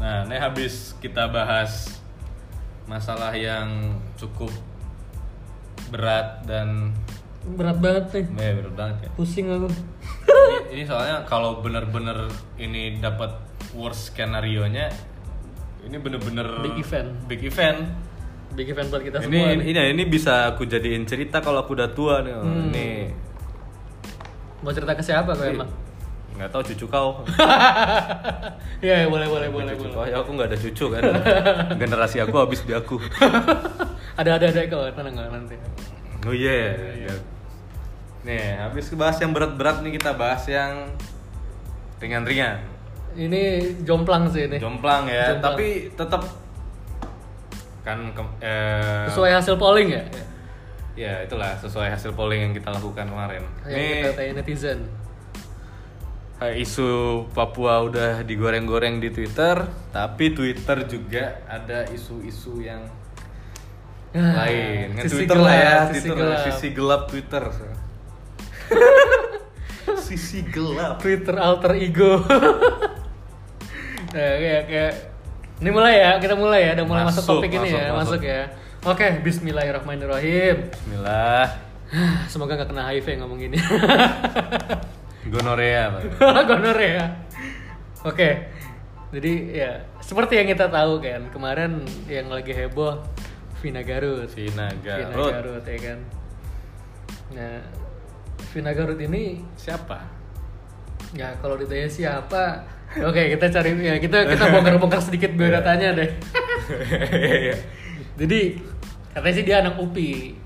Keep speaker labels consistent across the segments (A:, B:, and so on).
A: nah habis kita bahas masalah yang cukup berat dan
B: Berat banget nih.
C: Iya,
A: ya, berat banget ya
B: Pusing aku.
A: Ini- ini, soalnya kalau bener-bener ini dapat worst skenario nya ini bener-bener
B: Big event.
A: big event
B: Big event buat kita
C: ini
B: semua. nih.
C: ini ini bisa aku jadiin cerita kalau aku udah tua nih. Oh,
B: Hmm.
C: Nih.
B: Mau cerita ke siapa
C: Iya.
B: kau emang?
C: Nggak tahu cucu kau.
B: Iya, ya, boleh boleh boleh
C: cucu kau.
B: boleh.
C: Ya, aku nggak ada cucu kan. Generasi aku habis di aku.
B: Ada ada ada kau tenang nggak nanti.
C: Oh iya. Nih, habis bahas yang berat-berat nih kita bahas yang ringan-ringan.
B: Ini jomplang sih ini.
C: Jomplang ya,
B: Jomplang.
C: tapi tetap kan ke- eh,
B: Sesuai hasil polling ya.
C: Ya itulah sesuai hasil polling yang kita lakukan kemarin.
B: Yang kita tanya netizen.
C: Eh, isu Papua udah digoreng-goreng di Twitter, tapi Twitter juga ada isu-isu yang lain. Nge-
B: Ah, Sisi
C: Twitter lah ya,
B: gelap, sisi
C: Twitter lah,
B: gelap.
C: sisi gelap Twitter. sisi gelap.
B: Twitter alter ego. nah, kayak kayak ini mulai ya, kita mulai ya, udah mulai masuk,
C: Masuk,
B: topik ini
C: masuk,
B: ya,
C: masuk.
B: masuk ya. Oke, Bismillahirrahmanirrahim. Ah,
C: Bismillah.
B: Semoga nggak kena HIV ngomong gini.
C: Gonorea. Pak.
B: Gonor ya. Oke. Jadi ya seperti yang kita tahu kan kemarin yang lagi heboh Vina Garut.
C: Vina
B: Vina
C: Garut.
B: Garut ya kan. Nah, Vina Garut ini
C: Siapa?
B: ya kalau ditanya siapa, oke kita cari ya kita kita bongkar-bongkar sedikit
C: Iya.
B: biodatanya deh. Jadi katanya sih dia anak UPI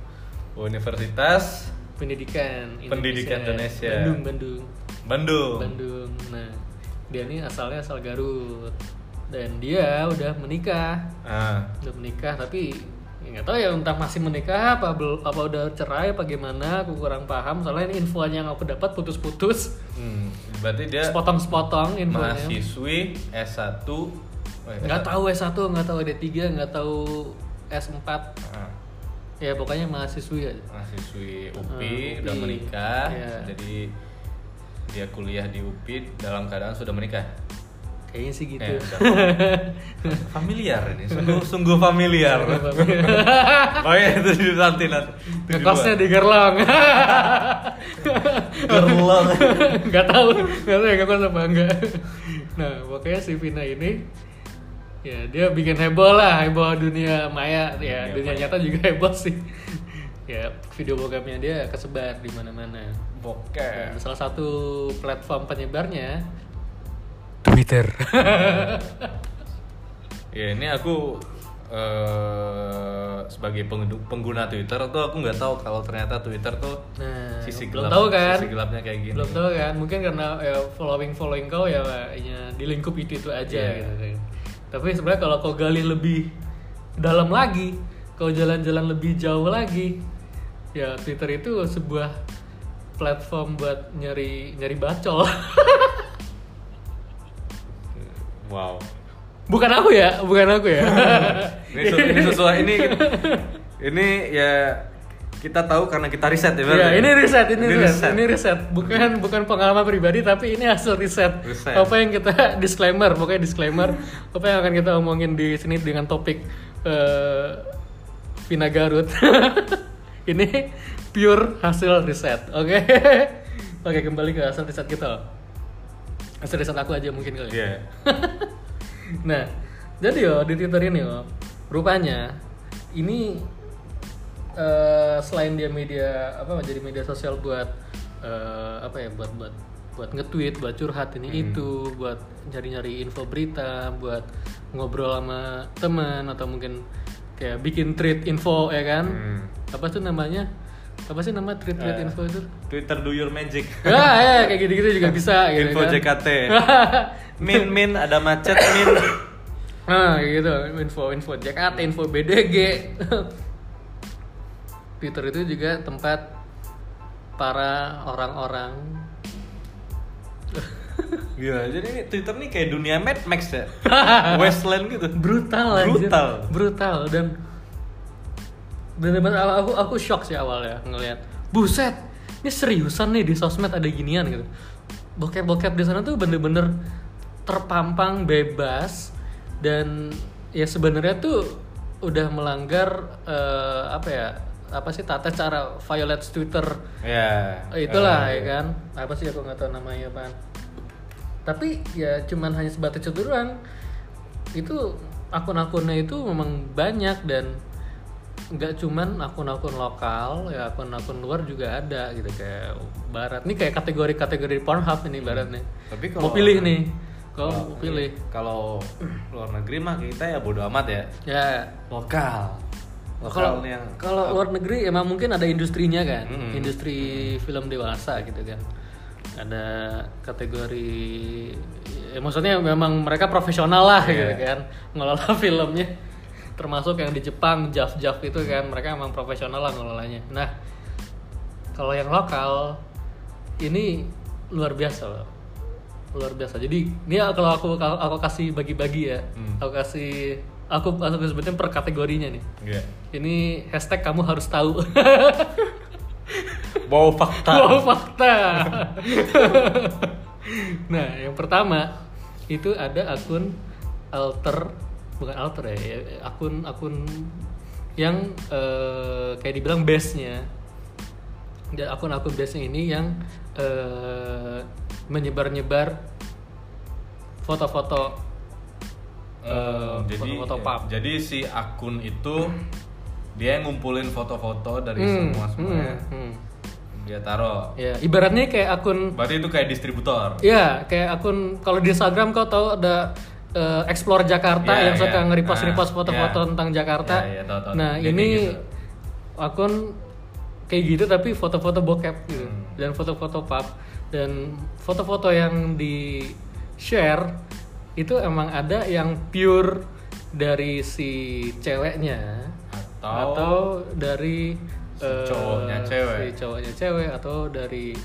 C: Universitas
B: pendidikan
C: Pendidikan Indonesia.
B: Bandung Bandung
C: Bandung.
B: Bandung. Nah, dia ini asalnya asal Garut dan dia udah menikah,
C: Ah,
B: udah menikah tapi ya nggak tahu ya entah masih menikah apa bel- apa udah cerai apa gimana, aku kurang paham soalnya ini infonya yang aku dapat putus-putus,
C: hmm, berarti dia
B: sepotong-sepotong infonya.
C: mahasiswi S1 oh, ya,
B: Nggak
C: S1.
B: tahu S1, nggak tahu D3, nggak tahu S4.
C: Ah,
B: Ya pokoknya mahasiswi aja.
C: mahasiswi UPI,
B: Ah,
C: udah
B: UPI.
C: menikah
B: Iya.
C: jadi dia kuliah di UPI dalam keadaan sudah menikah
B: Kayaknya sih gitu.
C: Eh, udah. familiar ini sungguh sungguh familiar oh iya itu di nanti nanti Itu di
B: Ngekosnya
C: luar.
B: di Gerlong.
C: Gerlong.
B: nggak tahu nggak tahu ya ngekos apa enggak nah pokoknya si Vina ini ya dia bikin heboh lah heboh dunia maya ya
C: Dunia
B: dunia
C: maya.
B: nyata juga heboh sih ya video bokapnya dia kesebar di mana-mana
C: bokeh
B: Dan salah satu platform penyebarnya Twitter
C: ya ini aku eh, sebagai pengguna, pengguna Twitter tuh aku nggak tahu kalau ternyata Twitter tuh
B: nah
C: sisi
B: belum
C: gelap
B: tahu kan
C: sisi gelapnya kayak gini
B: belum tahu kan mungkin karena ya, following following kau ya ya, di lingkup itu itu aja
C: Iya.
B: gitu kan tapi sebenarnya kalau kau gali lebih dalam lagi kau jalan-jalan lebih jauh lagi ya Twitter itu sebuah platform buat nyari nyari bacol
C: wow
B: bukan aku ya bukan aku ya
C: ini, sesu- ini sesuai ini ini ya kita tahu karena kita riset ya berarti.
B: ya ini riset ini, riset, ini
C: riset.
B: riset bukan bukan pengalaman pribadi tapi ini hasil riset.
C: Riset.
B: apa yang kita disclaimer pokoknya disclaimer apa yang akan kita omongin di sini dengan topik eh Vina Garut ini pure hasil riset oke oke kembali ke hasil riset kita hasil riset aku aja mungkin kali ya
C: Iya.
B: nah jadi yo di Twitter ini yo rupanya ini eh, selain dia media apa jadi media sosial buat eh, apa ya buat buat buat nge-tweet, buat curhat ini
C: Hmm.
B: itu, buat nyari-nyari info berita, buat ngobrol sama teman atau mungkin kayak bikin tweet info ya kan?
C: Hmm. Eh.
B: Apa tuh namanya? Apa sih nama tweet-tweet info itu?
C: Twitter do your magic.
B: Ah, ya, kayak gitu-gitu juga bisa gitu
C: Info
B: kan.
C: JKT. Min min ada macet min.
B: Nah, kayak gitu. Info info JKT, info BDG. Twitter itu juga tempat para orang-orang
C: Gila, jadi ini Twitter nih kayak dunia Mad Max ya. Westland gitu.
B: brutal anjir.
C: Brutal.
B: brutal dan bener-bener aw- aku aku shock sih awalnya ngelihat buset ini seriusan nih di sosmed ada ginian gitu bokep-bokep di sana tuh bener-bener terpampang bebas dan ya sebenarnya tuh udah melanggar eh, apa ya apa sih tata cara violates Twitter
A: Iya.
C: Ya.
B: Eh, itulah
C: eh,
B: ya kan apa sih aku nggak tahu namanya apaan tapi ya cuman hanya sebatas itu doang itu akun-akunnya itu memang banyak dan nggak cuman akun-akun lokal ya akun-akun luar juga ada gitu kayak barat ini kayak kategori-kategori Pornhub ini baratnya
C: Hmm. Tapi
B: mau
C: kalau
B: pilih nih kalau
C: kalau-
B: mau pilih
C: Kalau luar negeri mah kita ya bodo amat ya.
B: ya
C: Lokal.
B: kalau
C: Lokal yang
B: kalau luar negeri emang mungkin ada industrinya kan
C: Hmm.
B: industri film dewasa gitu kan ada kategori ya maksudnya memang mereka profesional lah gitu kan ngelola filmnya termasuk yang di Jepang Jaf Jaf itu kan mereka emang profesional lah ngelolanya nah kalau yang lokal ini luar biasa loh luar biasa jadi ini kalau aku kalau aku kasih bagi-bagi ya aku kasih aku aku sebutin per kategorinya nih
A: Iya.
B: ini hashtag kamu harus tahu.
C: bau fakta.
B: Wow, fakta. nah, yang pertama itu ada akun alter bukan alter ya, ya, akun akun yang eh, kayak dibilang base-nya. Dan akun-akun base ini yang eh, menyebar-nyebar foto-foto eh,
A: jadi ya,
B: foto-foto pub.
A: jadi si akun itu dia yang ngumpulin foto-foto dari
B: Hmm,
A: semua semuanya.
B: hmm, hmm.
A: Dia taruh.
B: Ya, ibaratnya kayak akun
A: Berarti itu kayak distributor.
B: Iya, kayak akun kalau di Instagram kau tahu ada eh, Explore Jakarta
A: Iya,
B: yang suka
A: iya.
B: nge-repost repost
A: Ah,
B: foto-foto
A: iya.
B: tentang Jakarta.
A: Iya, iya, tahu, tahu.
B: Nah,
A: Dia kayak
B: ini
A: gitu.
B: akun kayak gitu tapi foto-foto bokep gitu
A: Hmm.
B: dan foto-foto pub dan foto-foto yang di share itu emang ada yang pure dari si ceweknya
A: Atau,
B: atau dari
A: si
B: eh,
A: cowoknya cewek.
B: si cowoknya cewek atau dari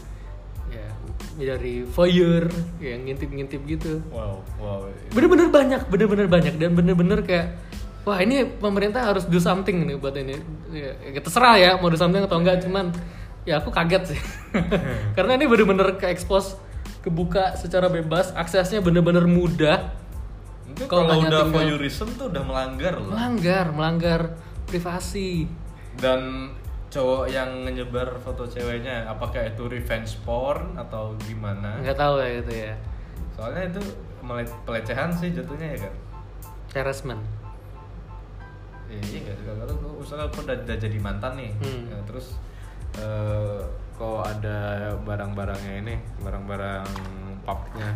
B: ya dari voyeur yang ngintip-ngintip gitu
A: wow, wow.
B: bener-bener banyak bener-bener banyak dan bener-bener kayak wah ini pemerintah harus do something nih buat ini ya, ya terserah ya mau do something atau enggak cuman ya aku kaget sih karena ini bener-bener ke expose kebuka secara bebas aksesnya bener-bener mudah
A: Itu
B: Kalau
A: kalau
B: hanya
A: udah
B: tinggal-
A: voyeurism tuh udah melanggar loh.
B: melanggar melanggar privasi
A: Dan cowok yang nyebar foto ceweknya apakah itu revenge porn atau gimana?
B: nggak tahu ya itu ya
A: Soalnya itu mele- pelecehan sih jatuhnya ya kan.
B: harassment
A: Iya, iya nggak sih? Kalau lu- misalnya aku udah, udah jadi mantan nih,
B: Hmm.
A: ya, terus
C: Eh, kok ada barang-barangnya ini, barang-barang pubnya.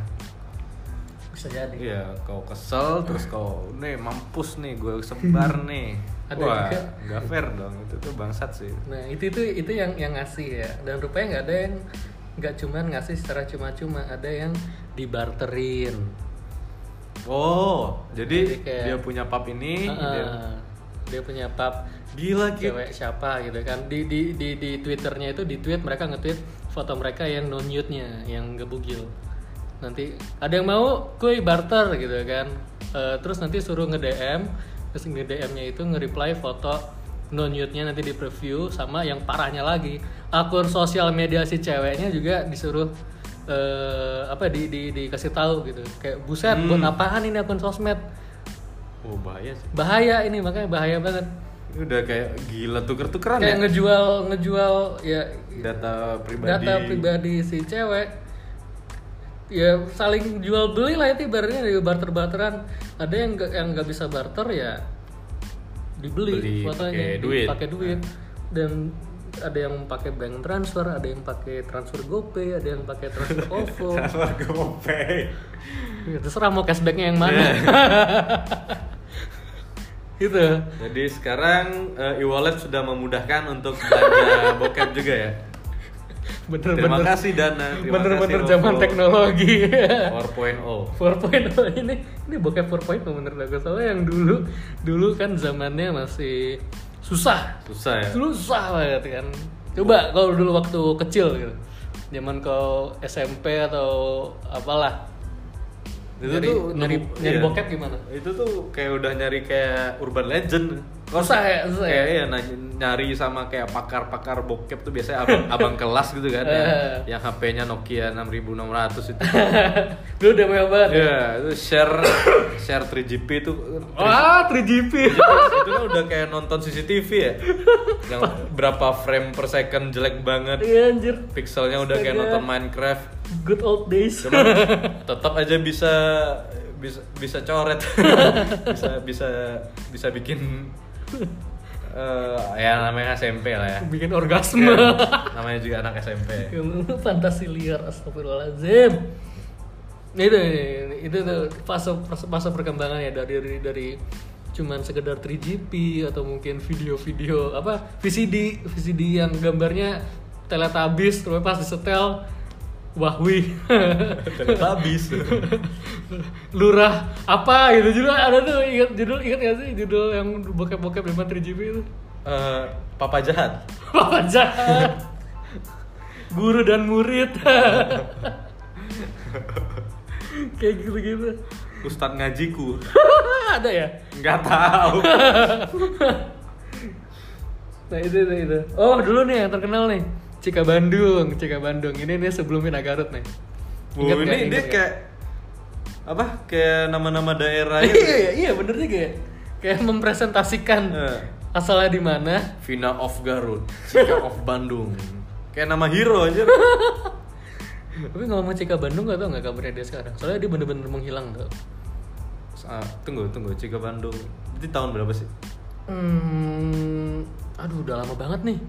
B: bisa jadi
C: Iya, kau kesel terus kau nih mampus nih gue sebar nih.
B: Ada
C: Wah,
B: juga.
C: nggak fair dong itu tuh bangsat sih.
B: Nah itu itu itu yang yang ngasih ya dan rupanya nggak ada yang nggak cuman ngasih secara cuma-cuma ada yang dibarterin.
C: Oh, jadi,
B: Jadi kayak-
C: dia punya pub ini, dia-
B: Heeh. dia punya pub
C: gila gitu.
B: cewek siapa gitu kan di di di di twitternya itu di tweet mereka nge-tweet foto mereka yang non nude nya yang gebugil nanti ada yang mau kuy barter gitu kan Eh, terus nanti suruh nge DM terus nge DM nya itu nge reply foto non nude nya nanti di preview sama yang parahnya lagi akun sosial media si ceweknya juga disuruh eh, apa di, di dikasih tahu gitu kayak buset buat apaan ini akun sosmed
C: Oh bahaya sih.
B: bahaya ini makanya bahaya banget
C: Ini udah kayak gila tuker-tukeran
B: kayak
C: ya.
B: ngejual ngejual ya
C: Data pribadi.
B: data pribadi si cewek ya saling jual beli lah itu ibaratnya dari barter barteran ada yang nggak yang nggak bisa barter ya
C: Beli
B: dibeli
C: pakai
B: fotonya di-
C: duit.
B: pakai duit dan ada yang pakai bank transfer ada yang pakai transfer gopay ada yang pakai transfer ovo
C: Transfer GoPay.
B: Ya, terserah mau cashbacknya yang mana
C: Iya.
B: gitu
C: Jadi sekarang eh, e-wallet sudah memudahkan untuk belanja bokep juga ya. Terima
B: bener-bener
C: kasih Dana. Terima
B: bener-bener
C: kasih
B: zaman
C: Ovo
B: teknologi
C: 4.0.
B: 4.0 Oh, ini ini bokep 4.0 menurut aku soalnya yang dulu dulu kan zamannya masih susah
C: Susah ya.
B: dulu susah banget kan coba kalau dulu waktu kecil gitu zaman kau SMP atau apalah
C: Itu
B: Jadi
C: tuh
B: nyari,
C: nemu-
B: nyari
C: iya.
B: bokep gimana?
C: Itu tuh kayak udah nyari kayak urban legend.
B: Susah ya, susah ya?
C: Kayak ya nany- nyari sama kayak pakar-pakar bokep tuh biasanya abang, abang kelas gitu kan ya.
B: Eh.
C: Yang HP-nya Nokia 6600 itu.
B: Dulu udah mewah banget. ya?
C: Iya, itu share share 3GP itu
B: Wah, 3GP.
C: itu kan udah kayak nonton CCTV ya. Yang berapa frame per second jelek banget.
B: Iya anjir.
C: Pixelnya udah kayak
B: Astaga.
C: nonton Minecraft.
B: Good old days.
C: Cuman tetap aja bisa bisa bisa coret. bisa bisa bisa bikin eh, ya namanya SMP lah ya.
B: Bikin orgasme.
C: namanya juga anak SMP.
B: Fantasi liar astagfirullahalazim. Itu itu, itu tuh fase fase perkembangan ya dari dari, dari cuman sekedar 3GP atau mungkin video-video apa VCD VCD yang gambarnya teletabis terus pas disetel wahwi
C: Habis.
B: lurah apa gitu judul ada tuh ingat judul ingat gak sih judul yang bokep-bokep di 3GP itu
C: Eh, papa jahat.
B: Papa jahat. Guru dan murid. Kayak gitu-gitu.
C: Ustadz ngajiku.
B: Ada ya?
C: Nggak tahu.
B: Nah itu, itu, itu. Oh dulu nih yang terkenal nih. Cika Bandung, Cika Bandung. Ini nih sebelum Mina Garut nih.
C: Bu,
B: Ingat nggak?
C: ini dia
B: Ingat nggak?
C: kayak apa? Kayak nama-nama daerah
B: Iya,
C: itu.
B: iya, iya bener juga ya. Kayak mempresentasikan
C: Eh.
B: asalnya di mana.
C: Vina of Garut, Cika of Bandung. Kayak nama hero aja.
B: Tapi ngomong Cika Bandung gak tau gak kabarnya dia sekarang. Soalnya dia bener-bener menghilang tuh.
C: Ah, tunggu, tunggu, Cika Bandung. Itu tahun berapa sih?
B: Hmm, aduh udah lama banget nih.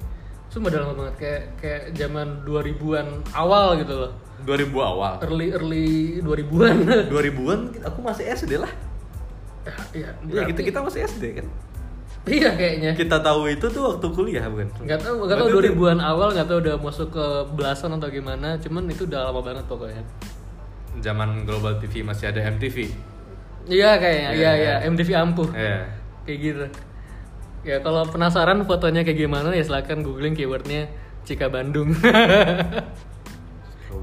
B: Sumpah udah lama banget kayak kayak zaman 2000-an awal gitu loh.
C: 2000 awal.
B: Early early 2000-an.
C: 2000-an aku masih SD lah.
B: Ah, Iya,
C: Iya, kita
B: berarti-
C: kita masih SD kan.
B: Iya kayaknya.
C: Kita tahu itu tuh waktu kuliah bukan?
B: Gak tau, gak tau
C: Berarti itu-
B: 2000-an awal, gak tau udah masuk ke belasan atau gimana Cuman itu udah lama banget pokoknya
C: Zaman Global TV masih ada MTV.
B: Iya kayaknya,
C: Iya,
B: iya iya,
C: iya.
B: MTV ampuh
C: Iya.
B: Kayak gitu Ya kalau penasaran fotonya kayak gimana ya silahkan googling keywordnya Cika Bandung
C: Cika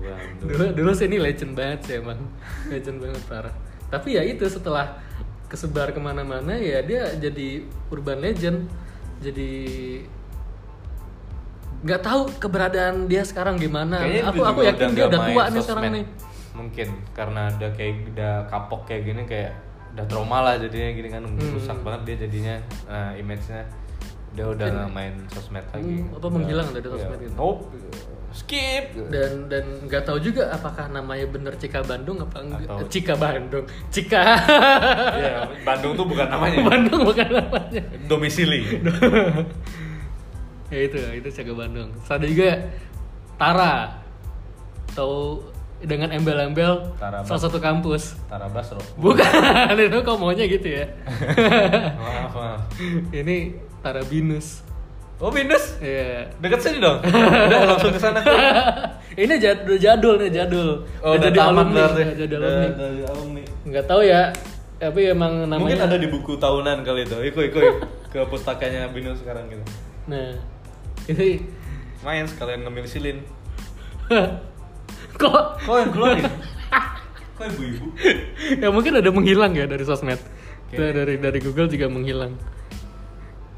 C: Bandung.
B: dulu dulu sih ini legend banget sih emang legend banget parah tapi ya itu setelah kesebar kemana-mana ya dia jadi urban legend jadi nggak tahu keberadaan dia sekarang gimana
C: Kayaknya
B: Nah, aku
C: dia
B: aku
C: juga
B: yakin dia
C: nggak
B: udah
C: main
B: tua nih
C: sosmed.
B: sekarang nih
C: Mungkin karena ada kayak udah kapok kayak gini kayak udah trauma lah jadinya gini kan
B: Hmm.
C: rusak banget dia jadinya nah, image-nya dia udah nggak main sosmed lagi.
B: Hmm, apa menghilang dari sosmed
C: Iya.
B: gitu.
C: Nope. Skip.
B: dan dan nggak tahu juga apakah namanya bener Cika Bandung apa enggak
C: Atau-
B: Cika Bandung Cika
C: Iya, Bandung tuh bukan namanya.
B: Bandung bukan namanya
C: Domisili.
B: ya itu itu Cika Bandung Terus ada juga Tara atau dengan embel-embel
C: Tara
B: salah satu kampus
C: Tara Basro.
B: bukan itu kok maunya gitu ya
C: maaf, maaf.
B: ini Tara Binus
C: Oh, Minus.
B: ya
C: Deket sini dong. Udah langsung ke sana. Oh,
B: ini jad- udah jadul nih jadul
C: udah
B: jadi
C: tamat
B: alumni
C: berarti.
B: udah jadi
C: Udah-
B: alumni
C: udah jadi alumni.
B: nggak tahu ya tapi emang namanya
C: Mungkin ada di buku tahunan kali itu. Iku iku iku. ke pustakanya Binus sekarang gitu.
B: nah ini
C: Main sekalian ngemil silin.
B: kok
C: Kok yang keluar ya? Kok ibu-ibu?
B: ya mungkin ada menghilang ya dari sosmed
C: Oke.
B: Itu dari dari Google juga menghilang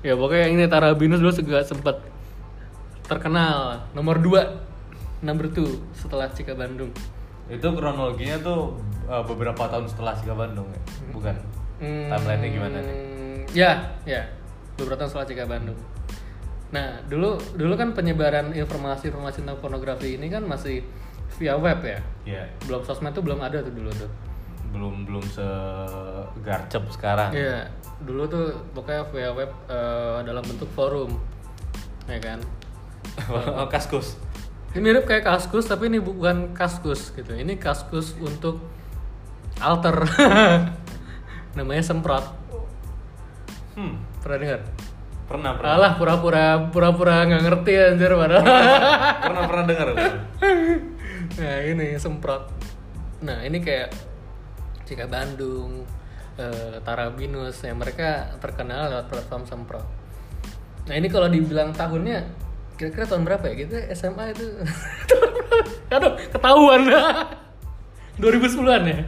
B: ya pokoknya ini Tara Binus dulu juga sempat terkenal nomor 2 nomor 2 setelah Cika Bandung
C: Itu kronologinya tuh uh, beberapa tahun setelah Sika Bandung ya? Bukan.
B: Hmm,
C: Timeline-nya gimana nih?
B: ya ya beberapa tahun setelah Cika Bandung nah dulu dulu kan penyebaran informasi-informasi tentang pornografi ini kan masih via web ya
C: Iya.
B: belum sosmed tuh belum ada tuh dulu tuh
C: Belum belum se garcep sekarang.
B: Iya, dulu tuh pokoknya via web eh, dalam bentuk forum, ya kan?
C: oh, kaskus.
B: Ini mirip kayak kaskus tapi ini bukan kaskus gitu. Ini kaskus untuk alter, namanya semprot.
C: Hmm.
B: Pernah dengar?
C: Pernah pernah.
B: Alah pura-pura pura-pura nggak ngerti anjir padahal.
C: pernah pernah dengar.
B: nah ini semprot. Nah ini kayak Cika Bandung, eh, Tarabinus, ya mereka terkenal lewat platform semprot. Nah ini kalau dibilang tahunnya, kira-kira tahun berapa ya? Kita SMA itu, Tahun berapa? aduh ketahuan 2010-an ya.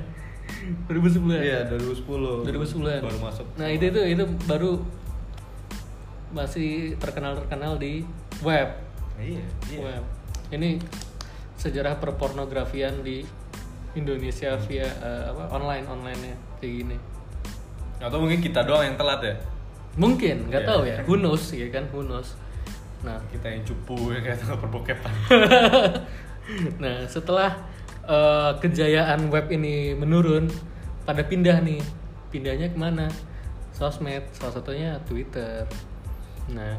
B: 2011.
A: Iya, 2010.
B: 2010.
A: Baru masuk.
B: Nah, itu itu itu baru masih terkenal-terkenal di web.
A: Iya, iya.
B: Web. Ini sejarah perpornografian di Indonesia via eh, apa online onlinenya kayak gini.
A: Atau mungkin kita doang yang telat ya.
B: Mungkin, nggak
A: Iya.
B: tahu ya. Who knows ya kan, who knows. Nah,
A: Kita yang cupu ya kan, yang kayak perbokepan.
B: nah setelah eh, kejayaan web ini menurun, pada pindah nih. Pindahnya kemana? Sosmed, salah satunya Twitter. Nah,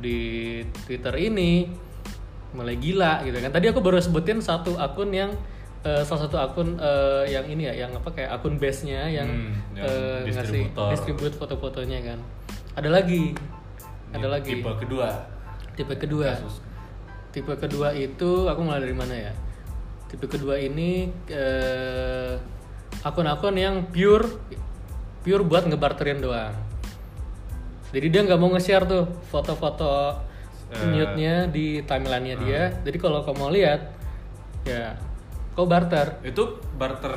B: di Twitter ini mulai gila gitu kan. Tadi aku baru sebutin satu akun yang eh, salah satu akun eh, yang ini ya, yang apa kayak akun base-nya yang,
A: Hmm, yang
B: eh, ngasih
A: distributor.
B: distribut foto-fotonya kan. Ada lagi. Ada
A: Ini
B: lagi.
A: Tipe kedua.
B: Tipe kedua.
A: Kasus.
B: Tipe kedua itu aku mulai dari mana ya? Tipe kedua ini eh, akun-akun yang pure pure buat ngebarterin doang. Jadi dia nggak mau nge-share tuh foto-foto
A: Eh. Ah.
B: nude-nya di timelinenya dia. Jadi kalau kamu mau lihat ya kau barter.
A: Itu barter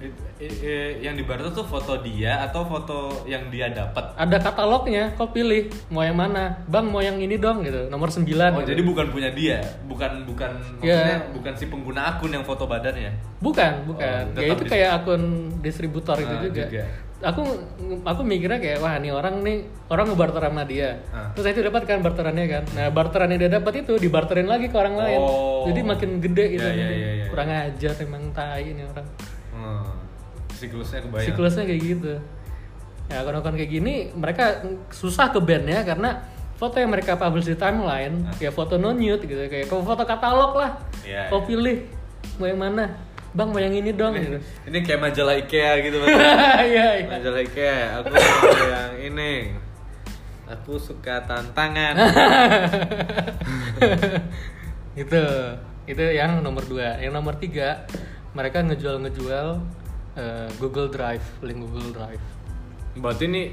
A: it- i- i- yang di barter tuh foto dia atau foto yang dia dapat.
B: Ada katalognya, kau pilih mau yang mana. Bang mau yang ini dong gitu, nomor 9.
A: Oh, jadi bukan punya dia, bukan bukan maksudnya
B: Iya.
A: bukan si pengguna akun yang foto badannya.
B: Bukan, bukan.
A: Oh,
B: ya
A: tetap
B: itu
A: dis-
B: kayak akun distributor gitu
A: Ah,
B: juga.
A: juga.
B: Aku aku mikirnya kayak wah nih orang nih orang ngebarter sama dia.
A: Ah.
B: Terus saya itu dapat kan barterannya kan. Nah, barteran yang dia dapat itu dibarterin lagi ke orang lain.
A: Oh.
B: Jadi makin gede
A: Ya,
B: itu.
A: ya, ya, ya.
B: Kurang ajar emang tai ini orang.
A: Hmm. Siklusnya kebayang.
B: Siklusnya kayak gitu. Ya, akun-akun kayak gini mereka susah ke bandnya karena foto yang mereka publish di timeline
A: Ah.
B: kayak foto non nude gitu kayak kau foto katalog lah.
A: Iya,
B: Kau pilih mau yang mana? Bang mau yang ini dong gitu.
C: Ini kayak majalah IKEA gitu Mas.
B: Iya, iya.
C: majalah IKEA. Aku mau yang ini. Aku suka tantangan.
B: itu Gitu. itu yang nomor dua yang nomor tiga mereka ngejual ngejual Google Drive link Google Drive
C: Berarti ini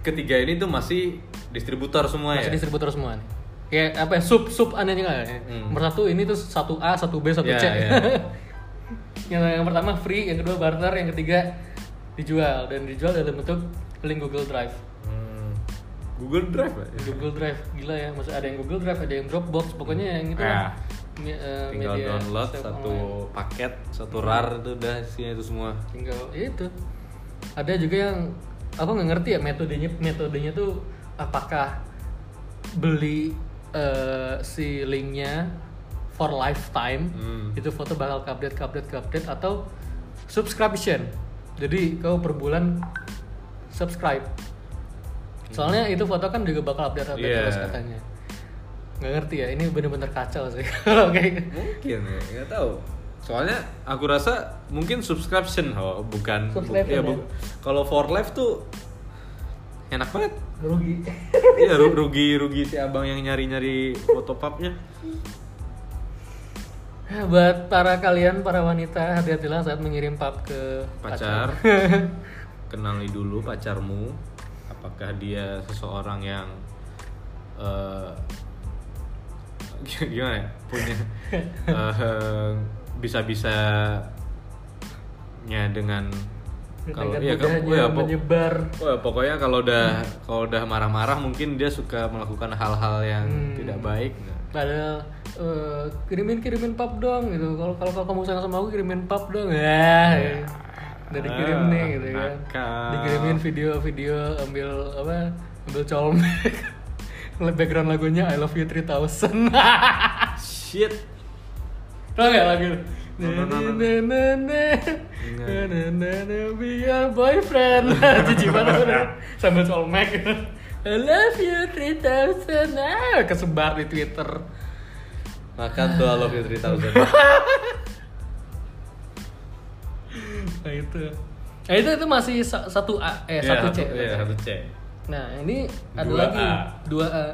C: ketiga ini tuh masih distributor semua
B: masih
C: ya?
B: distributor semua nih kayak apa ya, sub sub aneh juga ya.
C: Hmm.
B: nomor satu ini tuh satu A satu B satu
C: Ya,
B: C
C: ya.
B: yang, yang pertama free yang kedua barter yang ketiga dijual dan dijual dalam bentuk link Google Drive
C: Hmm. Google Drive ya?
B: Google Drive gila ya masih ada yang Google Drive ada yang Dropbox pokoknya yang itu
C: Ya.
B: lah. Me- eh,
C: Tinggal
B: media
C: download
B: save
C: satu
B: online.
C: paket, satu rar itu udah isinya itu semua.
B: tinggal ya itu ada juga yang aku nggak ngerti ya metodenya metodenya tuh apakah beli eh, si linknya for lifetime
C: Hmm.
B: itu foto bakal ke update ke update ke update atau subscription jadi kau per bulan subscribe soalnya itu foto kan juga bakal update update
C: Hmm. Iya.
B: terus katanya nggak ngerti ya ini bener-bener kacau sih kalau kayak
C: Mungkin ya, nggak tahu. Soalnya aku rasa mungkin subscription oh, bukan bu- iya,
B: Subscription ya.
C: bu- Kalau for life tuh enak banget.
B: rugi
C: Iya ru- rugi rugi si abang yang nyari nyari fotopubnya.
B: Buat para kalian, para wanita, hati-hatilah saat mengirim pap ke
C: Pacar, kenali dulu pacarmu. Apakah dia seseorang yang eh, gimana ya punya eh, bisa-bisa nya dengan kalau
B: Dengan
C: iya
B: mudahnya
C: kamu ya pok-
B: menyebar.
C: Wah, pokoknya kalau udah kalau udah marah-marah mungkin dia suka melakukan hal-hal yang
B: Hmm.
C: tidak baik. Nah,
B: Padahal eh, kirimin kirimin pap dong gitu. Kalau kalau kalau kamu sayang sama aku kirimin pap dong. Ya. Udah dikirim nih gitu kan.
C: nakal.
B: Dikirimin video-video ambil apa? Ambil colmek. Background lagunya I Love You 3000.
C: Shit.
B: Tau gak lagu?
C: No, no, no, no.
B: Na, na, na, na, na, na, na, na, be your boyfriend Nah, Jijik banget udah Sambil colmek I love you 3000 ah, Kesebar di Twitter
C: Makan tuh I love you 3000.
B: Nah itu Nah itu, itu masih sa- satu A Eh
C: Iya,
B: satu C
C: Iya, satu C.
B: Nah ini ada
C: Dua
B: lagi
C: A.
B: dua A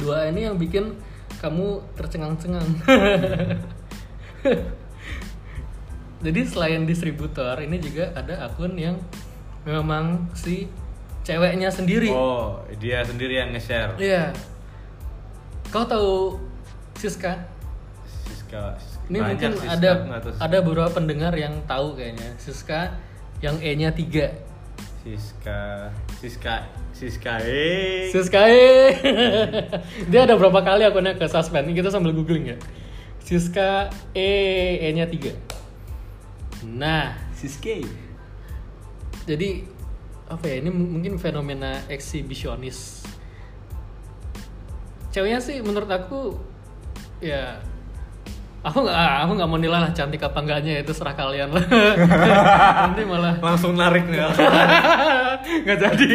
B: Dua A ini yang bikin kamu tercengang-cengang Jadi selain distributor ini juga ada akun yang memang si ceweknya sendiri
C: Oh, dia sendiri yang nge-share.
B: Iya Kau tahu Siska?
C: Siska
A: Siska.
B: Ini
C: Banyak
B: mungkin
C: Siska,
B: ada
C: nggak tahu Siska.
B: ada beberapa pendengar yang tahu kayaknya. Siska yang E-nya 3.
A: Siska. Siska. Siska. Eh.
B: Siska eh. Dia ada berapa kali akunnya ke suspend. Ini kita sambil googling ya. Siska E E-nya 3. Nah,
A: Siske.
B: jadi apa ya ini m- mungkin fenomena eksibisionis ceweknya sih menurut aku ya aku nggak ah, aku nggak mau nilai lah cantik apa enggaknya itu serah kalian lah nanti malah
A: Langsung narik nih.
B: nggak jadi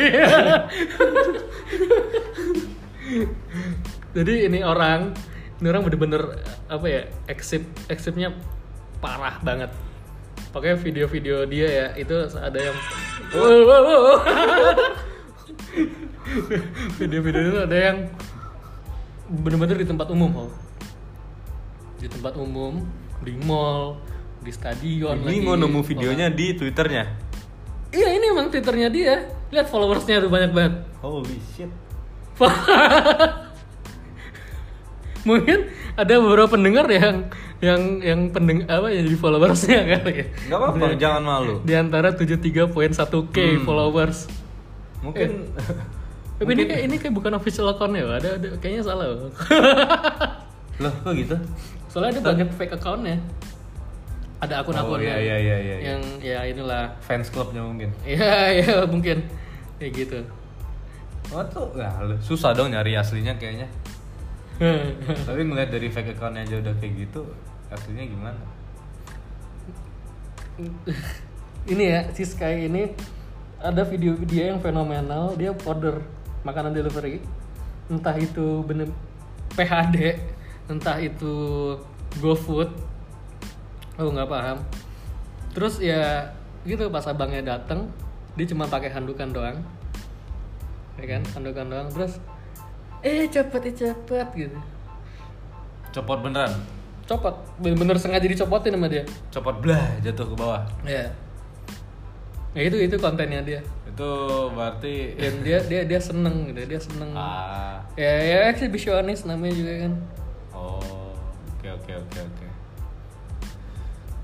B: jadi ini orang ini orang bener-bener apa ya eksip eksipnya parah banget pokoknya video-video dia ya itu ada yang Wow, wow, wow. video-video itu ada yang bener-bener di tempat umum Hol. di tempat umum di mall di stadion
C: Ini
B: lagi.
C: mau nemu videonya di twitternya.
B: Iya ini emang twitternya dia. Lihat followersnya tuh banyak banget.
C: Holy shit.
B: Mungkin ada beberapa pendengar yang yang yang pendeng apa yang jadi followersnya kali ya.
C: Gak apa-apa, jangan Hmm. malu.
B: Di antara 73.1k followers.
C: Mungkin
B: Tapi ini kayak ini kayak bukan official account ya, ada, ada kayaknya salah. Bang.
C: loh kok gitu?
B: Soalnya ada banyak fake accountnya. Ada
C: Oh
B: akun-akunnya
C: iya iya iya iya. iya.
B: yang ya inilah.
C: Fans clubnya mungkin.
B: Iya iya mungkin kayak gitu.
C: Oh tuh, nah, lu- susah dong nyari aslinya kayaknya. Tapi melihat dari fake accountnya aja udah kayak gitu, aslinya gimana?
B: ini ya si Sky ini ada video dia yang fenomenal dia order makanan delivery entah itu bener PHD entah itu GoFood aku nggak paham terus ya gitu pas abangnya dateng dia cuma pakai handukan doang ya kan handukan doang terus eh cepet eh cepet gitu
C: Copot beneran.
B: copot bener-bener sengaja dicopotin sama dia
C: Copot blah jatuh ke bawah.
B: ya ya itu itu kontennya dia
C: Itu berarti
B: dan dia dia dia seneng gitu dia seneng
C: ah
B: ya ya eksibisionis namanya juga kan
C: oh oke oke oke oke.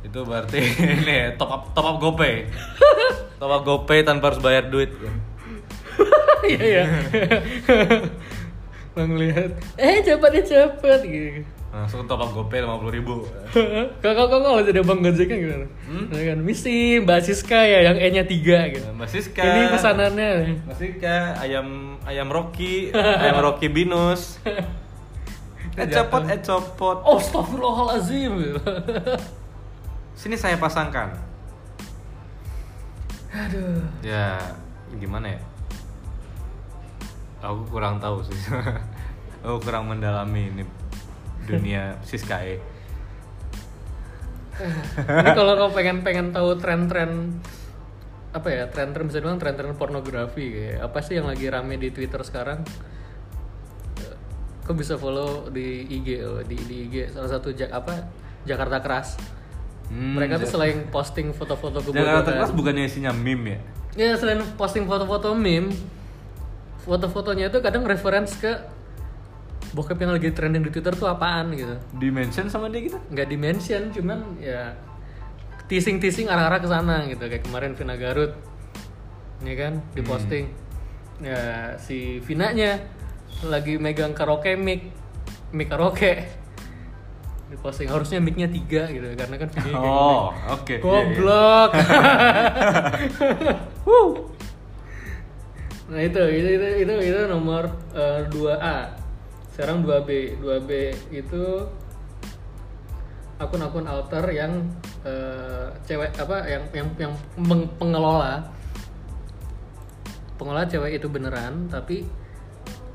C: Itu berarti ini ya, top up top up GoPay. top up GoPay tanpa harus bayar duit.
B: iya iya lo ngelihat eh cepet ya cepet gitu
C: Langsung top up GoPay 50.000 ribu.
B: kok kok kok kalau jadi bang gojek kan gimana Nah, kan misi mbak Siska ya yang e nya tiga gitu
C: Mbak Siska.
B: ini pesanannya
C: Mbak Siska, ayam ayam Rocky, ayam Rocky Binus. Eh copot, eh copot.
B: oh astagfirullahalazim gitu.
C: Sini saya pasangkan.
B: aduh
C: Ya, gimana ya? Aku kurang tahu sih. Aku kurang mendalami ini dunia E. Siskae.
B: ini kalau kau pengen pengen tahu tren-tren apa ya tren-tren bisa bilang tren-tren pornografi kayak apa sih yang lagi rame di Twitter sekarang? Eh, Kau bisa follow di IG oh, di, di IG salah satu jak apa Jakarta Keras.
C: Hmm,
B: Mereka tuh
C: Ja-
B: selain posting foto-foto
C: Jakarta Keras
B: kebodohan.
C: bukannya isinya meme ya?
B: Ya selain posting foto-foto meme, foto-fotonya itu kadang reference ke bokep yang lagi trending di Twitter tuh apaan gitu.
C: Dimension sama dia gitu?
B: nggak dimension cuman ya teasing teasing arah arah ke sana gitu kayak kemarin Vina Garut ya kan diposting ya si Vinanya lagi megang karaoke mic mic karaoke diposting harusnya micnya tiga gitu karena kan videonya kayak
C: Oh, oke.
B: gini.
C: Iya, iya.
B: goblok Wuh. nah itu itu itu itu, itu nomor eh, 2A sekarang 2B 2B itu akun-akun alter yang eh, cewek apa yang yang yang meng- pengelola pengelola cewek itu beneran tapi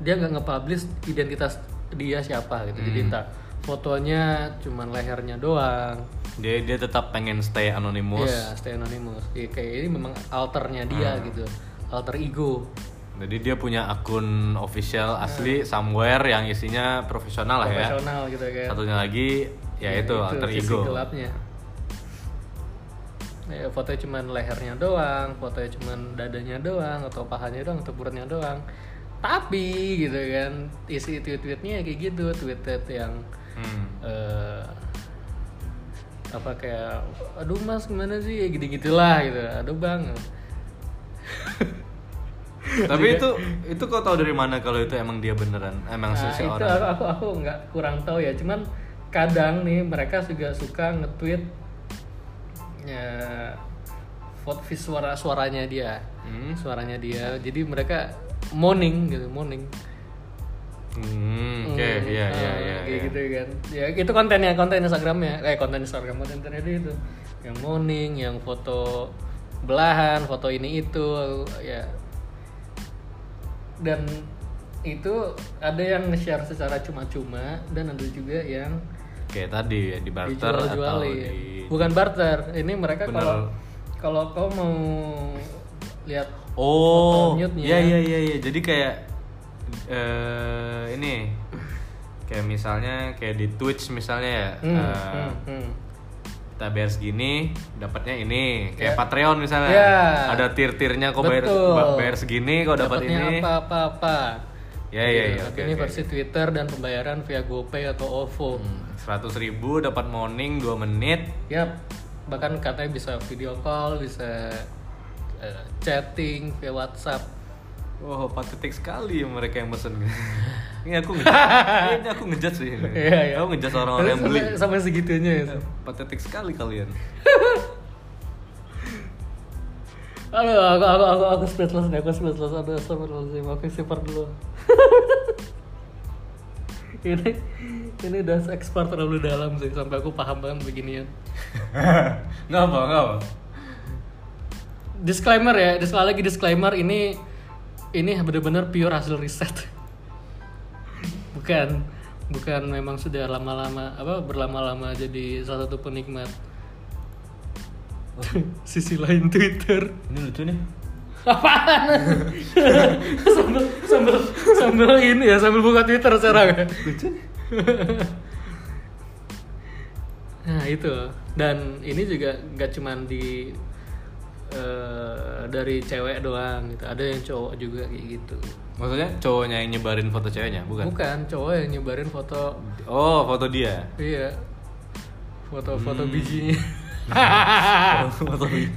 B: dia nggak nge-publish identitas dia siapa gitu
C: Hmm.
B: jadi entah fotonya cuman lehernya doang
C: Dia Iya, dia tetap pengen stay anonymous. Ah.
B: Iya, stay anonymous. Iya, kayak ini memang alternya dia gitu. Alter ego.
C: Jadi dia punya akun official asli somewhere yang isinya profesional lah ya.
B: Iya. Profesional gitu kan. Iya,
C: Satunya lagi ya, itu, alter ego.
B: sisi gelapnya. Ya, fotonya cuman lehernya doang, fotonya cuman dadanya doang, atau pahanya doang, atau perutnya doang. Tapi gitu kan, isi tweet-tweetnya kayak gitu, tweet-tweet yang
C: Hmm.
B: eh, apa kayak aduh mas gimana sih gini gitulah gitu aduh bang
C: Tapi itu itu kau tahu dari mana kalau itu emang dia beneran, emang
B: Nah, itu
C: seseorang.
B: aku aku aku nggak kurang tahu ya cuman kadang nih mereka juga suka nge-tweet ya vote vis- suara suaranya dia
C: Hmm.
B: suaranya dia jadi mereka moaning gitu moaning
C: Hmm, oke, iya iya
B: Ah,
C: iya.
B: kayak
C: iya.
B: gitu kan ya itu kontennya konten Instagramnya kayak konten Instagram konten internet itu yang morning yang foto belahan foto ini itu ya dan itu ada yang nge-share secara cuma-cuma dan ada juga yang
C: Kayak tadi ya di barter atau
B: dijual-jualin
C: di
B: bukan barter ini mereka
C: Bener.
B: kalau kalau kau mau lihat
C: Oh,
B: Foto nude-nya.
C: iya iya iya iya. Jadi kayak eh ini kayak misalnya kayak di Twitch misalnya ya.
B: hmm,
C: eh,
B: hmm, hmm.
C: kita bayar segini, dapatnya ini. Kayak
B: Ya.
C: Patreon misalnya.
B: Ya.
C: Ada tir-tirnya kok bayar
B: Betul.
C: ba- bayar segini kok dapat
B: Dapatnya
C: ini.
B: apa apa apa
C: Ya ya ya.
B: Tapi
C: Oke. oke.
B: ini
C: Hmm.
B: versi Twitter dan pembayaran via GoPay atau OVO.
C: Seratus ribu dapat morning 2 menit.
B: Yap, Ya, bahkan katanya bisa video call, bisa eh, chatting via WhatsApp.
C: Wow, patetik sekali ya mereka yang pesen. ini aku ngejat, ini aku ngejat sih. Ini.
B: Iya, iya.
C: Aku ngejat orang-orang yang beli.
B: Sampai- Sampai segitunya ya.
C: Patetik sekali kalian.
B: Aduh, aku aku aku aku speechless deh, aku speechless ada astagfirullahaladzim, aku super dulu. ini ini udah ekspor terlalu dalam sih sampai aku paham banget beginian.
C: Enggak apa, enggak apa.
B: Disclaimer ya, sekali lagi disclaimer ini ini bener-bener pure hasil riset. bukan bukan memang sudah lama-lama apa berlama-lama jadi salah satu penikmat sisi lain Twitter.
C: Ini lucu nih.
B: Apaan? sambil, sambil, sambil ini ya, sambil buka Twitter sekarang. ya. Lucu. nah itu dan ini juga nggak cuman di eh, dari cewek doang gitu ada yang cowok juga kayak gitu
C: Maksudnya cowoknya yang nyebarin foto ceweknya,
B: bukan,
C: bukan?
B: cowok yang nyebarin foto
C: Oh, foto dia.
B: iya foto-foto bijinya
C: foto dia.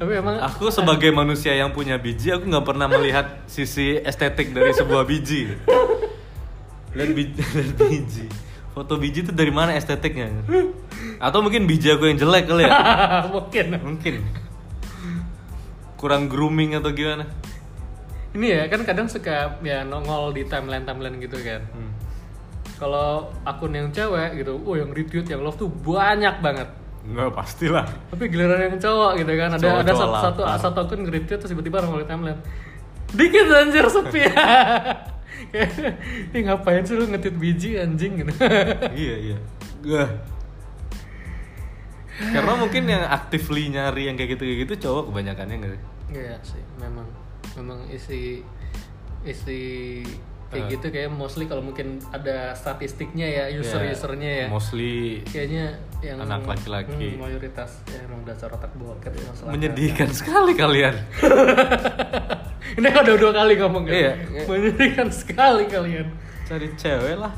B: tapi Ah. emang
C: Aku sebagai manusia yang punya biji, aku nggak pernah melihat sisi estetik dari sebuah biji. Lihat biji, lihat biji. Foto biji itu dari mana estetiknya? Atau mungkin biji aku yang jelek kali ya?
B: mungkin
C: Mungkin. Kurang grooming atau gimana?
B: ini ya kan kadang suka ya nongol di timeline timeline gitu kan
C: Hmm.
B: kalau akun yang cewek gitu, oh yang retweet yang love tuh banyak banget.
C: Nggak pastilah.
B: Tapi giliran yang cowok gitu kan, ada
C: Cowok-cowok
B: ada satu satu,
C: lapar.
B: satu akun retweet terus tiba-tiba orang ngeliat timeline. Dikit anjir sepi. Kayak, Ini ngapain sih lu ngetit biji anjing gitu.
C: iya iya. Gah. Karena mungkin yang actively nyari yang kayak gitu kayak gitu cowok kebanyakannya nggak sih?
B: Iya sih, memang memang isi isi
C: Ah.
B: kayak gitu kayak mostly kalau mungkin ada statistiknya ya user-usernya ya.
C: Iya. Mostly
B: Kayaknya yang
C: Anak laki-laki.
B: Hmm, mayoritas ya, emang dasar otak bokep ya, emang selangkangan.
C: menyedihkan sekali kalian.
B: Ini kan udah dua kali ngomong kan?
C: Iya.
B: Menyedihkan sekali kalian.
C: Cari cewek lah.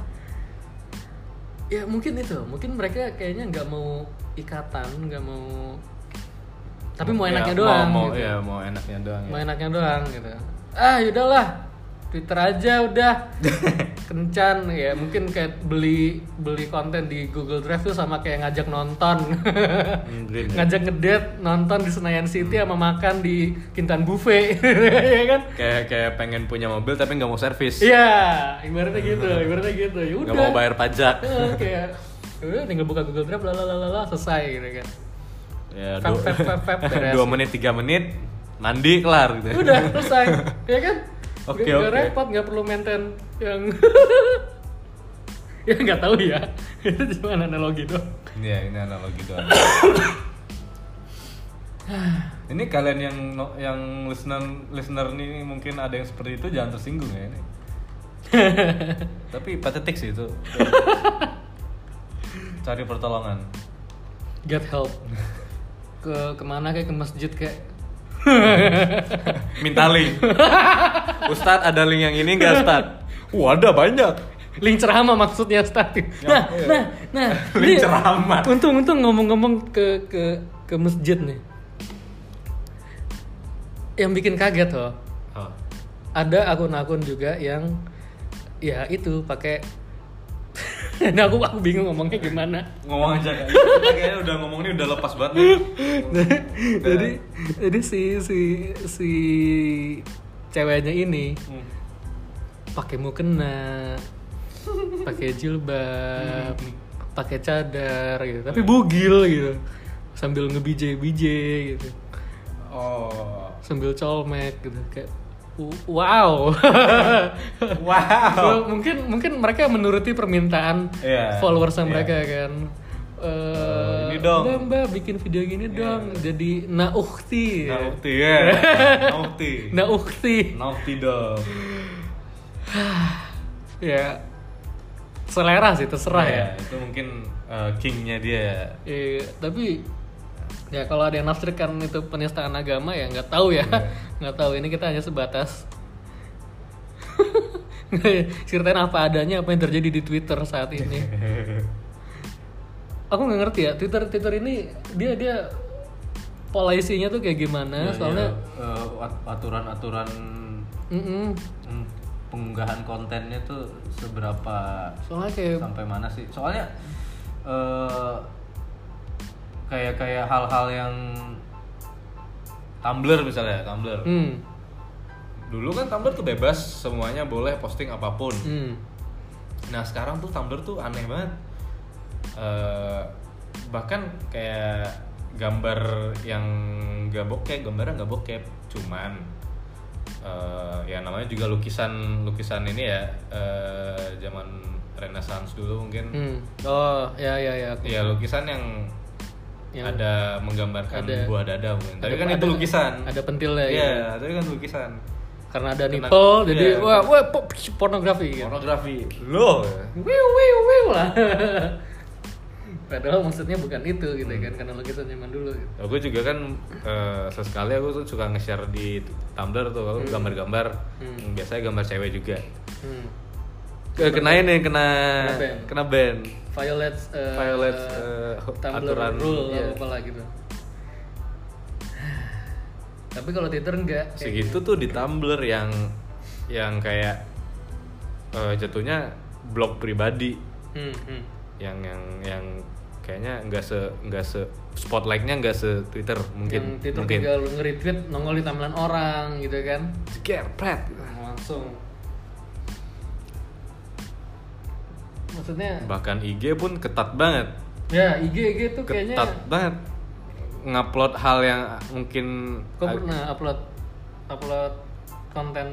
B: Ya mungkin itu, mungkin mereka kayaknya nggak mau ikatan, nggak mau. Tapi mau enaknya
C: Ya,
B: doang.
C: Mau, mau,
B: gitu.
C: iya, mau enaknya doang. ya.
B: Mau enaknya doang gitu. Ah yaudahlah, Twitter aja udah. Kencan ya mungkin kayak beli beli konten di Google Drive tuh sama kayak ngajak nonton.
C: Mungkin.
B: ngajak ngedate nonton di Senayan City sama makan di Kintan Buffet. ya kan?
C: Kayak kayak pengen punya mobil tapi nggak mau servis.
B: Iya, ibaratnya gitu, ibaratnya gitu. Ya udah.
C: Nggak mau bayar pajak.
B: Eh, kayak udah tinggal buka Google Drive lalalala selesai gitu kan.
C: Ya,
B: Fap,
C: du-
B: fap, fap, fap, beres.
C: dua menit tiga menit mandi kelar gitu.
B: Udah selesai. ya kan?
C: Oke,
B: Nggak- nggak
C: oke.
B: repot, nggak perlu maintain yang ya nggak tahu ya. Itu cuma analogi doang.
C: Iya, ini analogi doang. ini kalian yang no- yang listener listener nih mungkin ada yang seperti itu jangan tersinggung ya ini. Tapi patetik sih itu. Cari pertolongan.
B: Get help. Ke kemana kayak ke masjid kayak
C: Minta link. Ustad ada link yang ini enggak Ustad? Wah, ada banyak.
B: Link ceramah maksudnya statif. Nah, nah, nah.
A: Link
B: ini
A: ceramah.
B: Untung-untung ngomong-ngomong ke ke ke masjid nih. Yang bikin kaget loh.
A: Oh.
B: Ada akun-akun juga yang ya itu pakai Ini aku aku bingung ngomongnya gimana.
C: ngomong aja kali. Kita kayaknya udah ngomong ini udah lepas banget nih.
B: jadi jadi si si si ceweknya ini pakai mukena pakai jilbab pakai cadar gitu tapi bugil gitu sambil ngebijai-bijai gitu
A: Oh.
B: sambil colmek gitu kayak "W- wow
A: Wow.
C: Oh.
B: So, mungkin mungkin mereka menuruti permintaan
A: Iya.
B: followersnya
A: Iya.
B: mereka kan Eh,
C: ini dong.
B: "Mbak, mbak bikin video gini dong jadi nauhti
C: Nauti ya. Nauti.
B: nauhti
C: Nauti dong.
B: ya selera sih terserah ya
C: Ya, itu mungkin eh, kingnya dia ya.
B: Eh, tapi ya kalau ada yang nafsirkan itu penistaan agama ya nggak tahu ya nggak tahu ini kita hanya sebatas ceritain apa adanya apa yang terjadi di Twitter saat ini
C: Iya,
B: aku nggak ngerti ya Twitter Twitter ini dia dia pola isinya tuh kayak gimana
C: Ya,
B: soalnya
C: ya, eh, at- aturan-aturan
B: Mm-mm.
C: mm, pengunggahan kontennya tuh seberapa
B: soalnya kayak
C: sampai mana sih soalnya eh, kayak kayak hal-hal yang Tumblr misalnya Tumblr
B: hmm,
C: dulu kan Tumblr tuh bebas semuanya boleh posting apapun
B: hmm.
C: nah sekarang tuh Tumblr tuh aneh banget Eh, bahkan kayak gambar yang gak bokep gambarnya nggak bokep cuman eh, ya namanya juga lukisan lukisan ini ya eh, zaman Renaissance dulu mungkin
B: hmm. oh ya ya ya aku-
C: Iya lukisan yang
B: Yang-
C: ada menggambarkan
B: ada-
C: buah dada mungkin. Tapi
B: ada-
C: kan itu
B: ada-
C: lukisan.
B: ada pentilnya
C: Iya,
B: ya.
C: tapi kan lukisan.
B: karena ada
C: Kena-
B: nipple jadi
C: iya.
B: wah wah po- pornografi gitu.
C: Pornografi. Loh.
B: wiu wiu wiu lah padahal maksudnya bukan itu gitu ya kan
C: Hmm.
B: karena lukisan zaman dulu gitu.
C: aku juga kan eh, sesekali aku tuh suka nge-share di Tumblr tuh aku gambar-gambar. Hmm, Biasanya gambar cewek juga.
B: hmm.
C: Ke- Kenain nih kena
B: Kena ban.
C: kena ban.
B: violate uh,
C: Violate,
B: uh,
C: uh,
B: Tumblr
C: aturan,
B: rule
C: iya.
B: atau apalah gitu tapi kalau Twitter enggak kayak
C: Segitu tuh di Tumblr yang yang kayak eh, jatuhnya blog pribadi.
B: hmm, hmm.
C: yang yang yang kayaknya nggak se nggak se spotlightnya nggak se Twitter
B: yang
C: mungkin
B: Twitter
C: mungkin
B: tinggal nge-retweet nongol di tampilan orang gitu kan Nah,
C: Gerpret.
B: langsung maksudnya
C: bahkan IG pun ketat banget
B: ya IG IG tuh kayaknya ya.
C: ketat banget ngupload hal yang mungkin
B: Kau pernah upload upload konten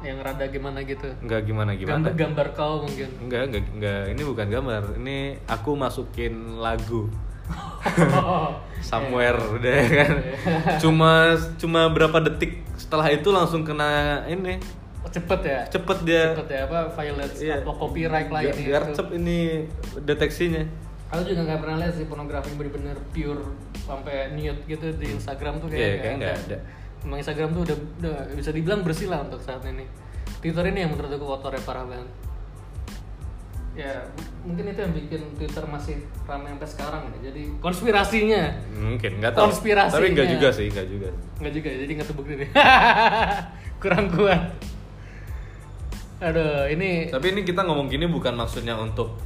B: yang rada gimana gitu?
C: nggak gimana gimana
B: Gambar gambar kau mungkin.
C: nggak nggak nggak ini bukan gambar ini aku masukin lagu
B: Oh,
C: somewhere udah ya kan cuma cuma berapa detik setelah itu langsung kena ini
B: cepet ya.
C: cepet dia
B: Cepet ya apa violence
C: Iya.
B: atau copyright
C: Gar-
B: lagi nih.
C: garcep ini deteksinya
B: Aku juga nggak pernah lihat sih pornografi yang bener-bener pure sampai nude gitu di Instagram tuh kayak
C: Iya,
B: nggak
C: kayak nggak ada.
B: Emang Instagram tuh udah, udah bisa dibilang bersih lah untuk saat ini. Twitter ini yang menurut aku kotornya parah banget. Ya, m- mungkin itu yang bikin Twitter masih ramai sampai sekarang ya. Jadi konspirasinya
C: mungkin nggak tahu
B: Konspirasinya.
C: tapi nggak juga sih nggak juga
B: Nggak juga ya, jadi nggak terbukti nih. Kurang kuat. Aduh, ini
C: tapi ini kita ngomong gini bukan maksudnya untuk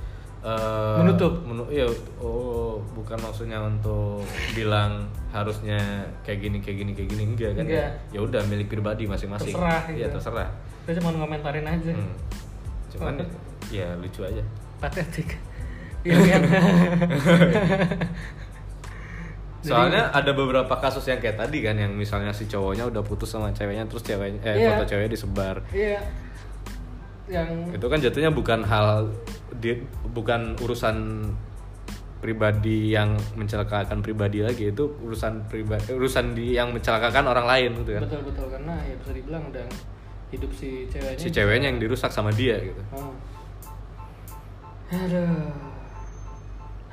C: eh,
B: Menutup.
C: menu iya, oh bukan maksudnya untuk bilang harusnya kayak gini kayak gini kayak gini enggak kan
B: Enggak.
C: ya udah milik pribadi masing-masing
B: Terserah,
C: ya
B: gitu. Iya.
C: terserah
B: kita cuma ngomentarin aja.
C: Hmm. cuman ya lucu aja
B: Patetik. Iya kan? Jadi-
C: soalnya ada beberapa kasus yang kayak tadi kan yang misalnya si cowoknya udah putus sama ceweknya terus ceweknya eh
B: Iya.
C: foto ceweknya disebar
B: Iya. Yang
C: itu kan jatuhnya bukan hal di, bukan urusan pribadi yang mencelakakan pribadi lagi itu urusan pribadi urusan di yang mencelakakan orang lain gitu kan
B: betul-betul karena ya bisa dibilang udah hidup si ceweknya.
C: si ceweknya yang dirusak sama dia gitu
B: Oh. Aduh.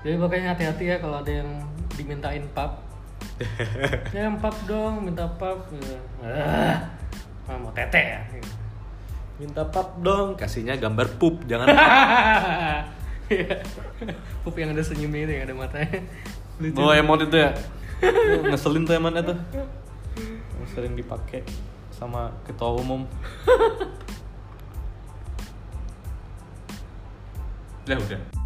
B: Jadi makanya hati-hati ya kalau ada yang dimintain pap. ya pap dong, minta pap. Gitu. Ah, mau tete ya. Gitu.
C: minta pap dong kasihnya gambar pup jangan
B: Iya. Pup yang ada senyumnya itu yang ada matanya. Lucu.
C: bawa emot itu ya Itu ngeselin tuh emang itu sering dipakai sama ketua umum
A: Ya udah.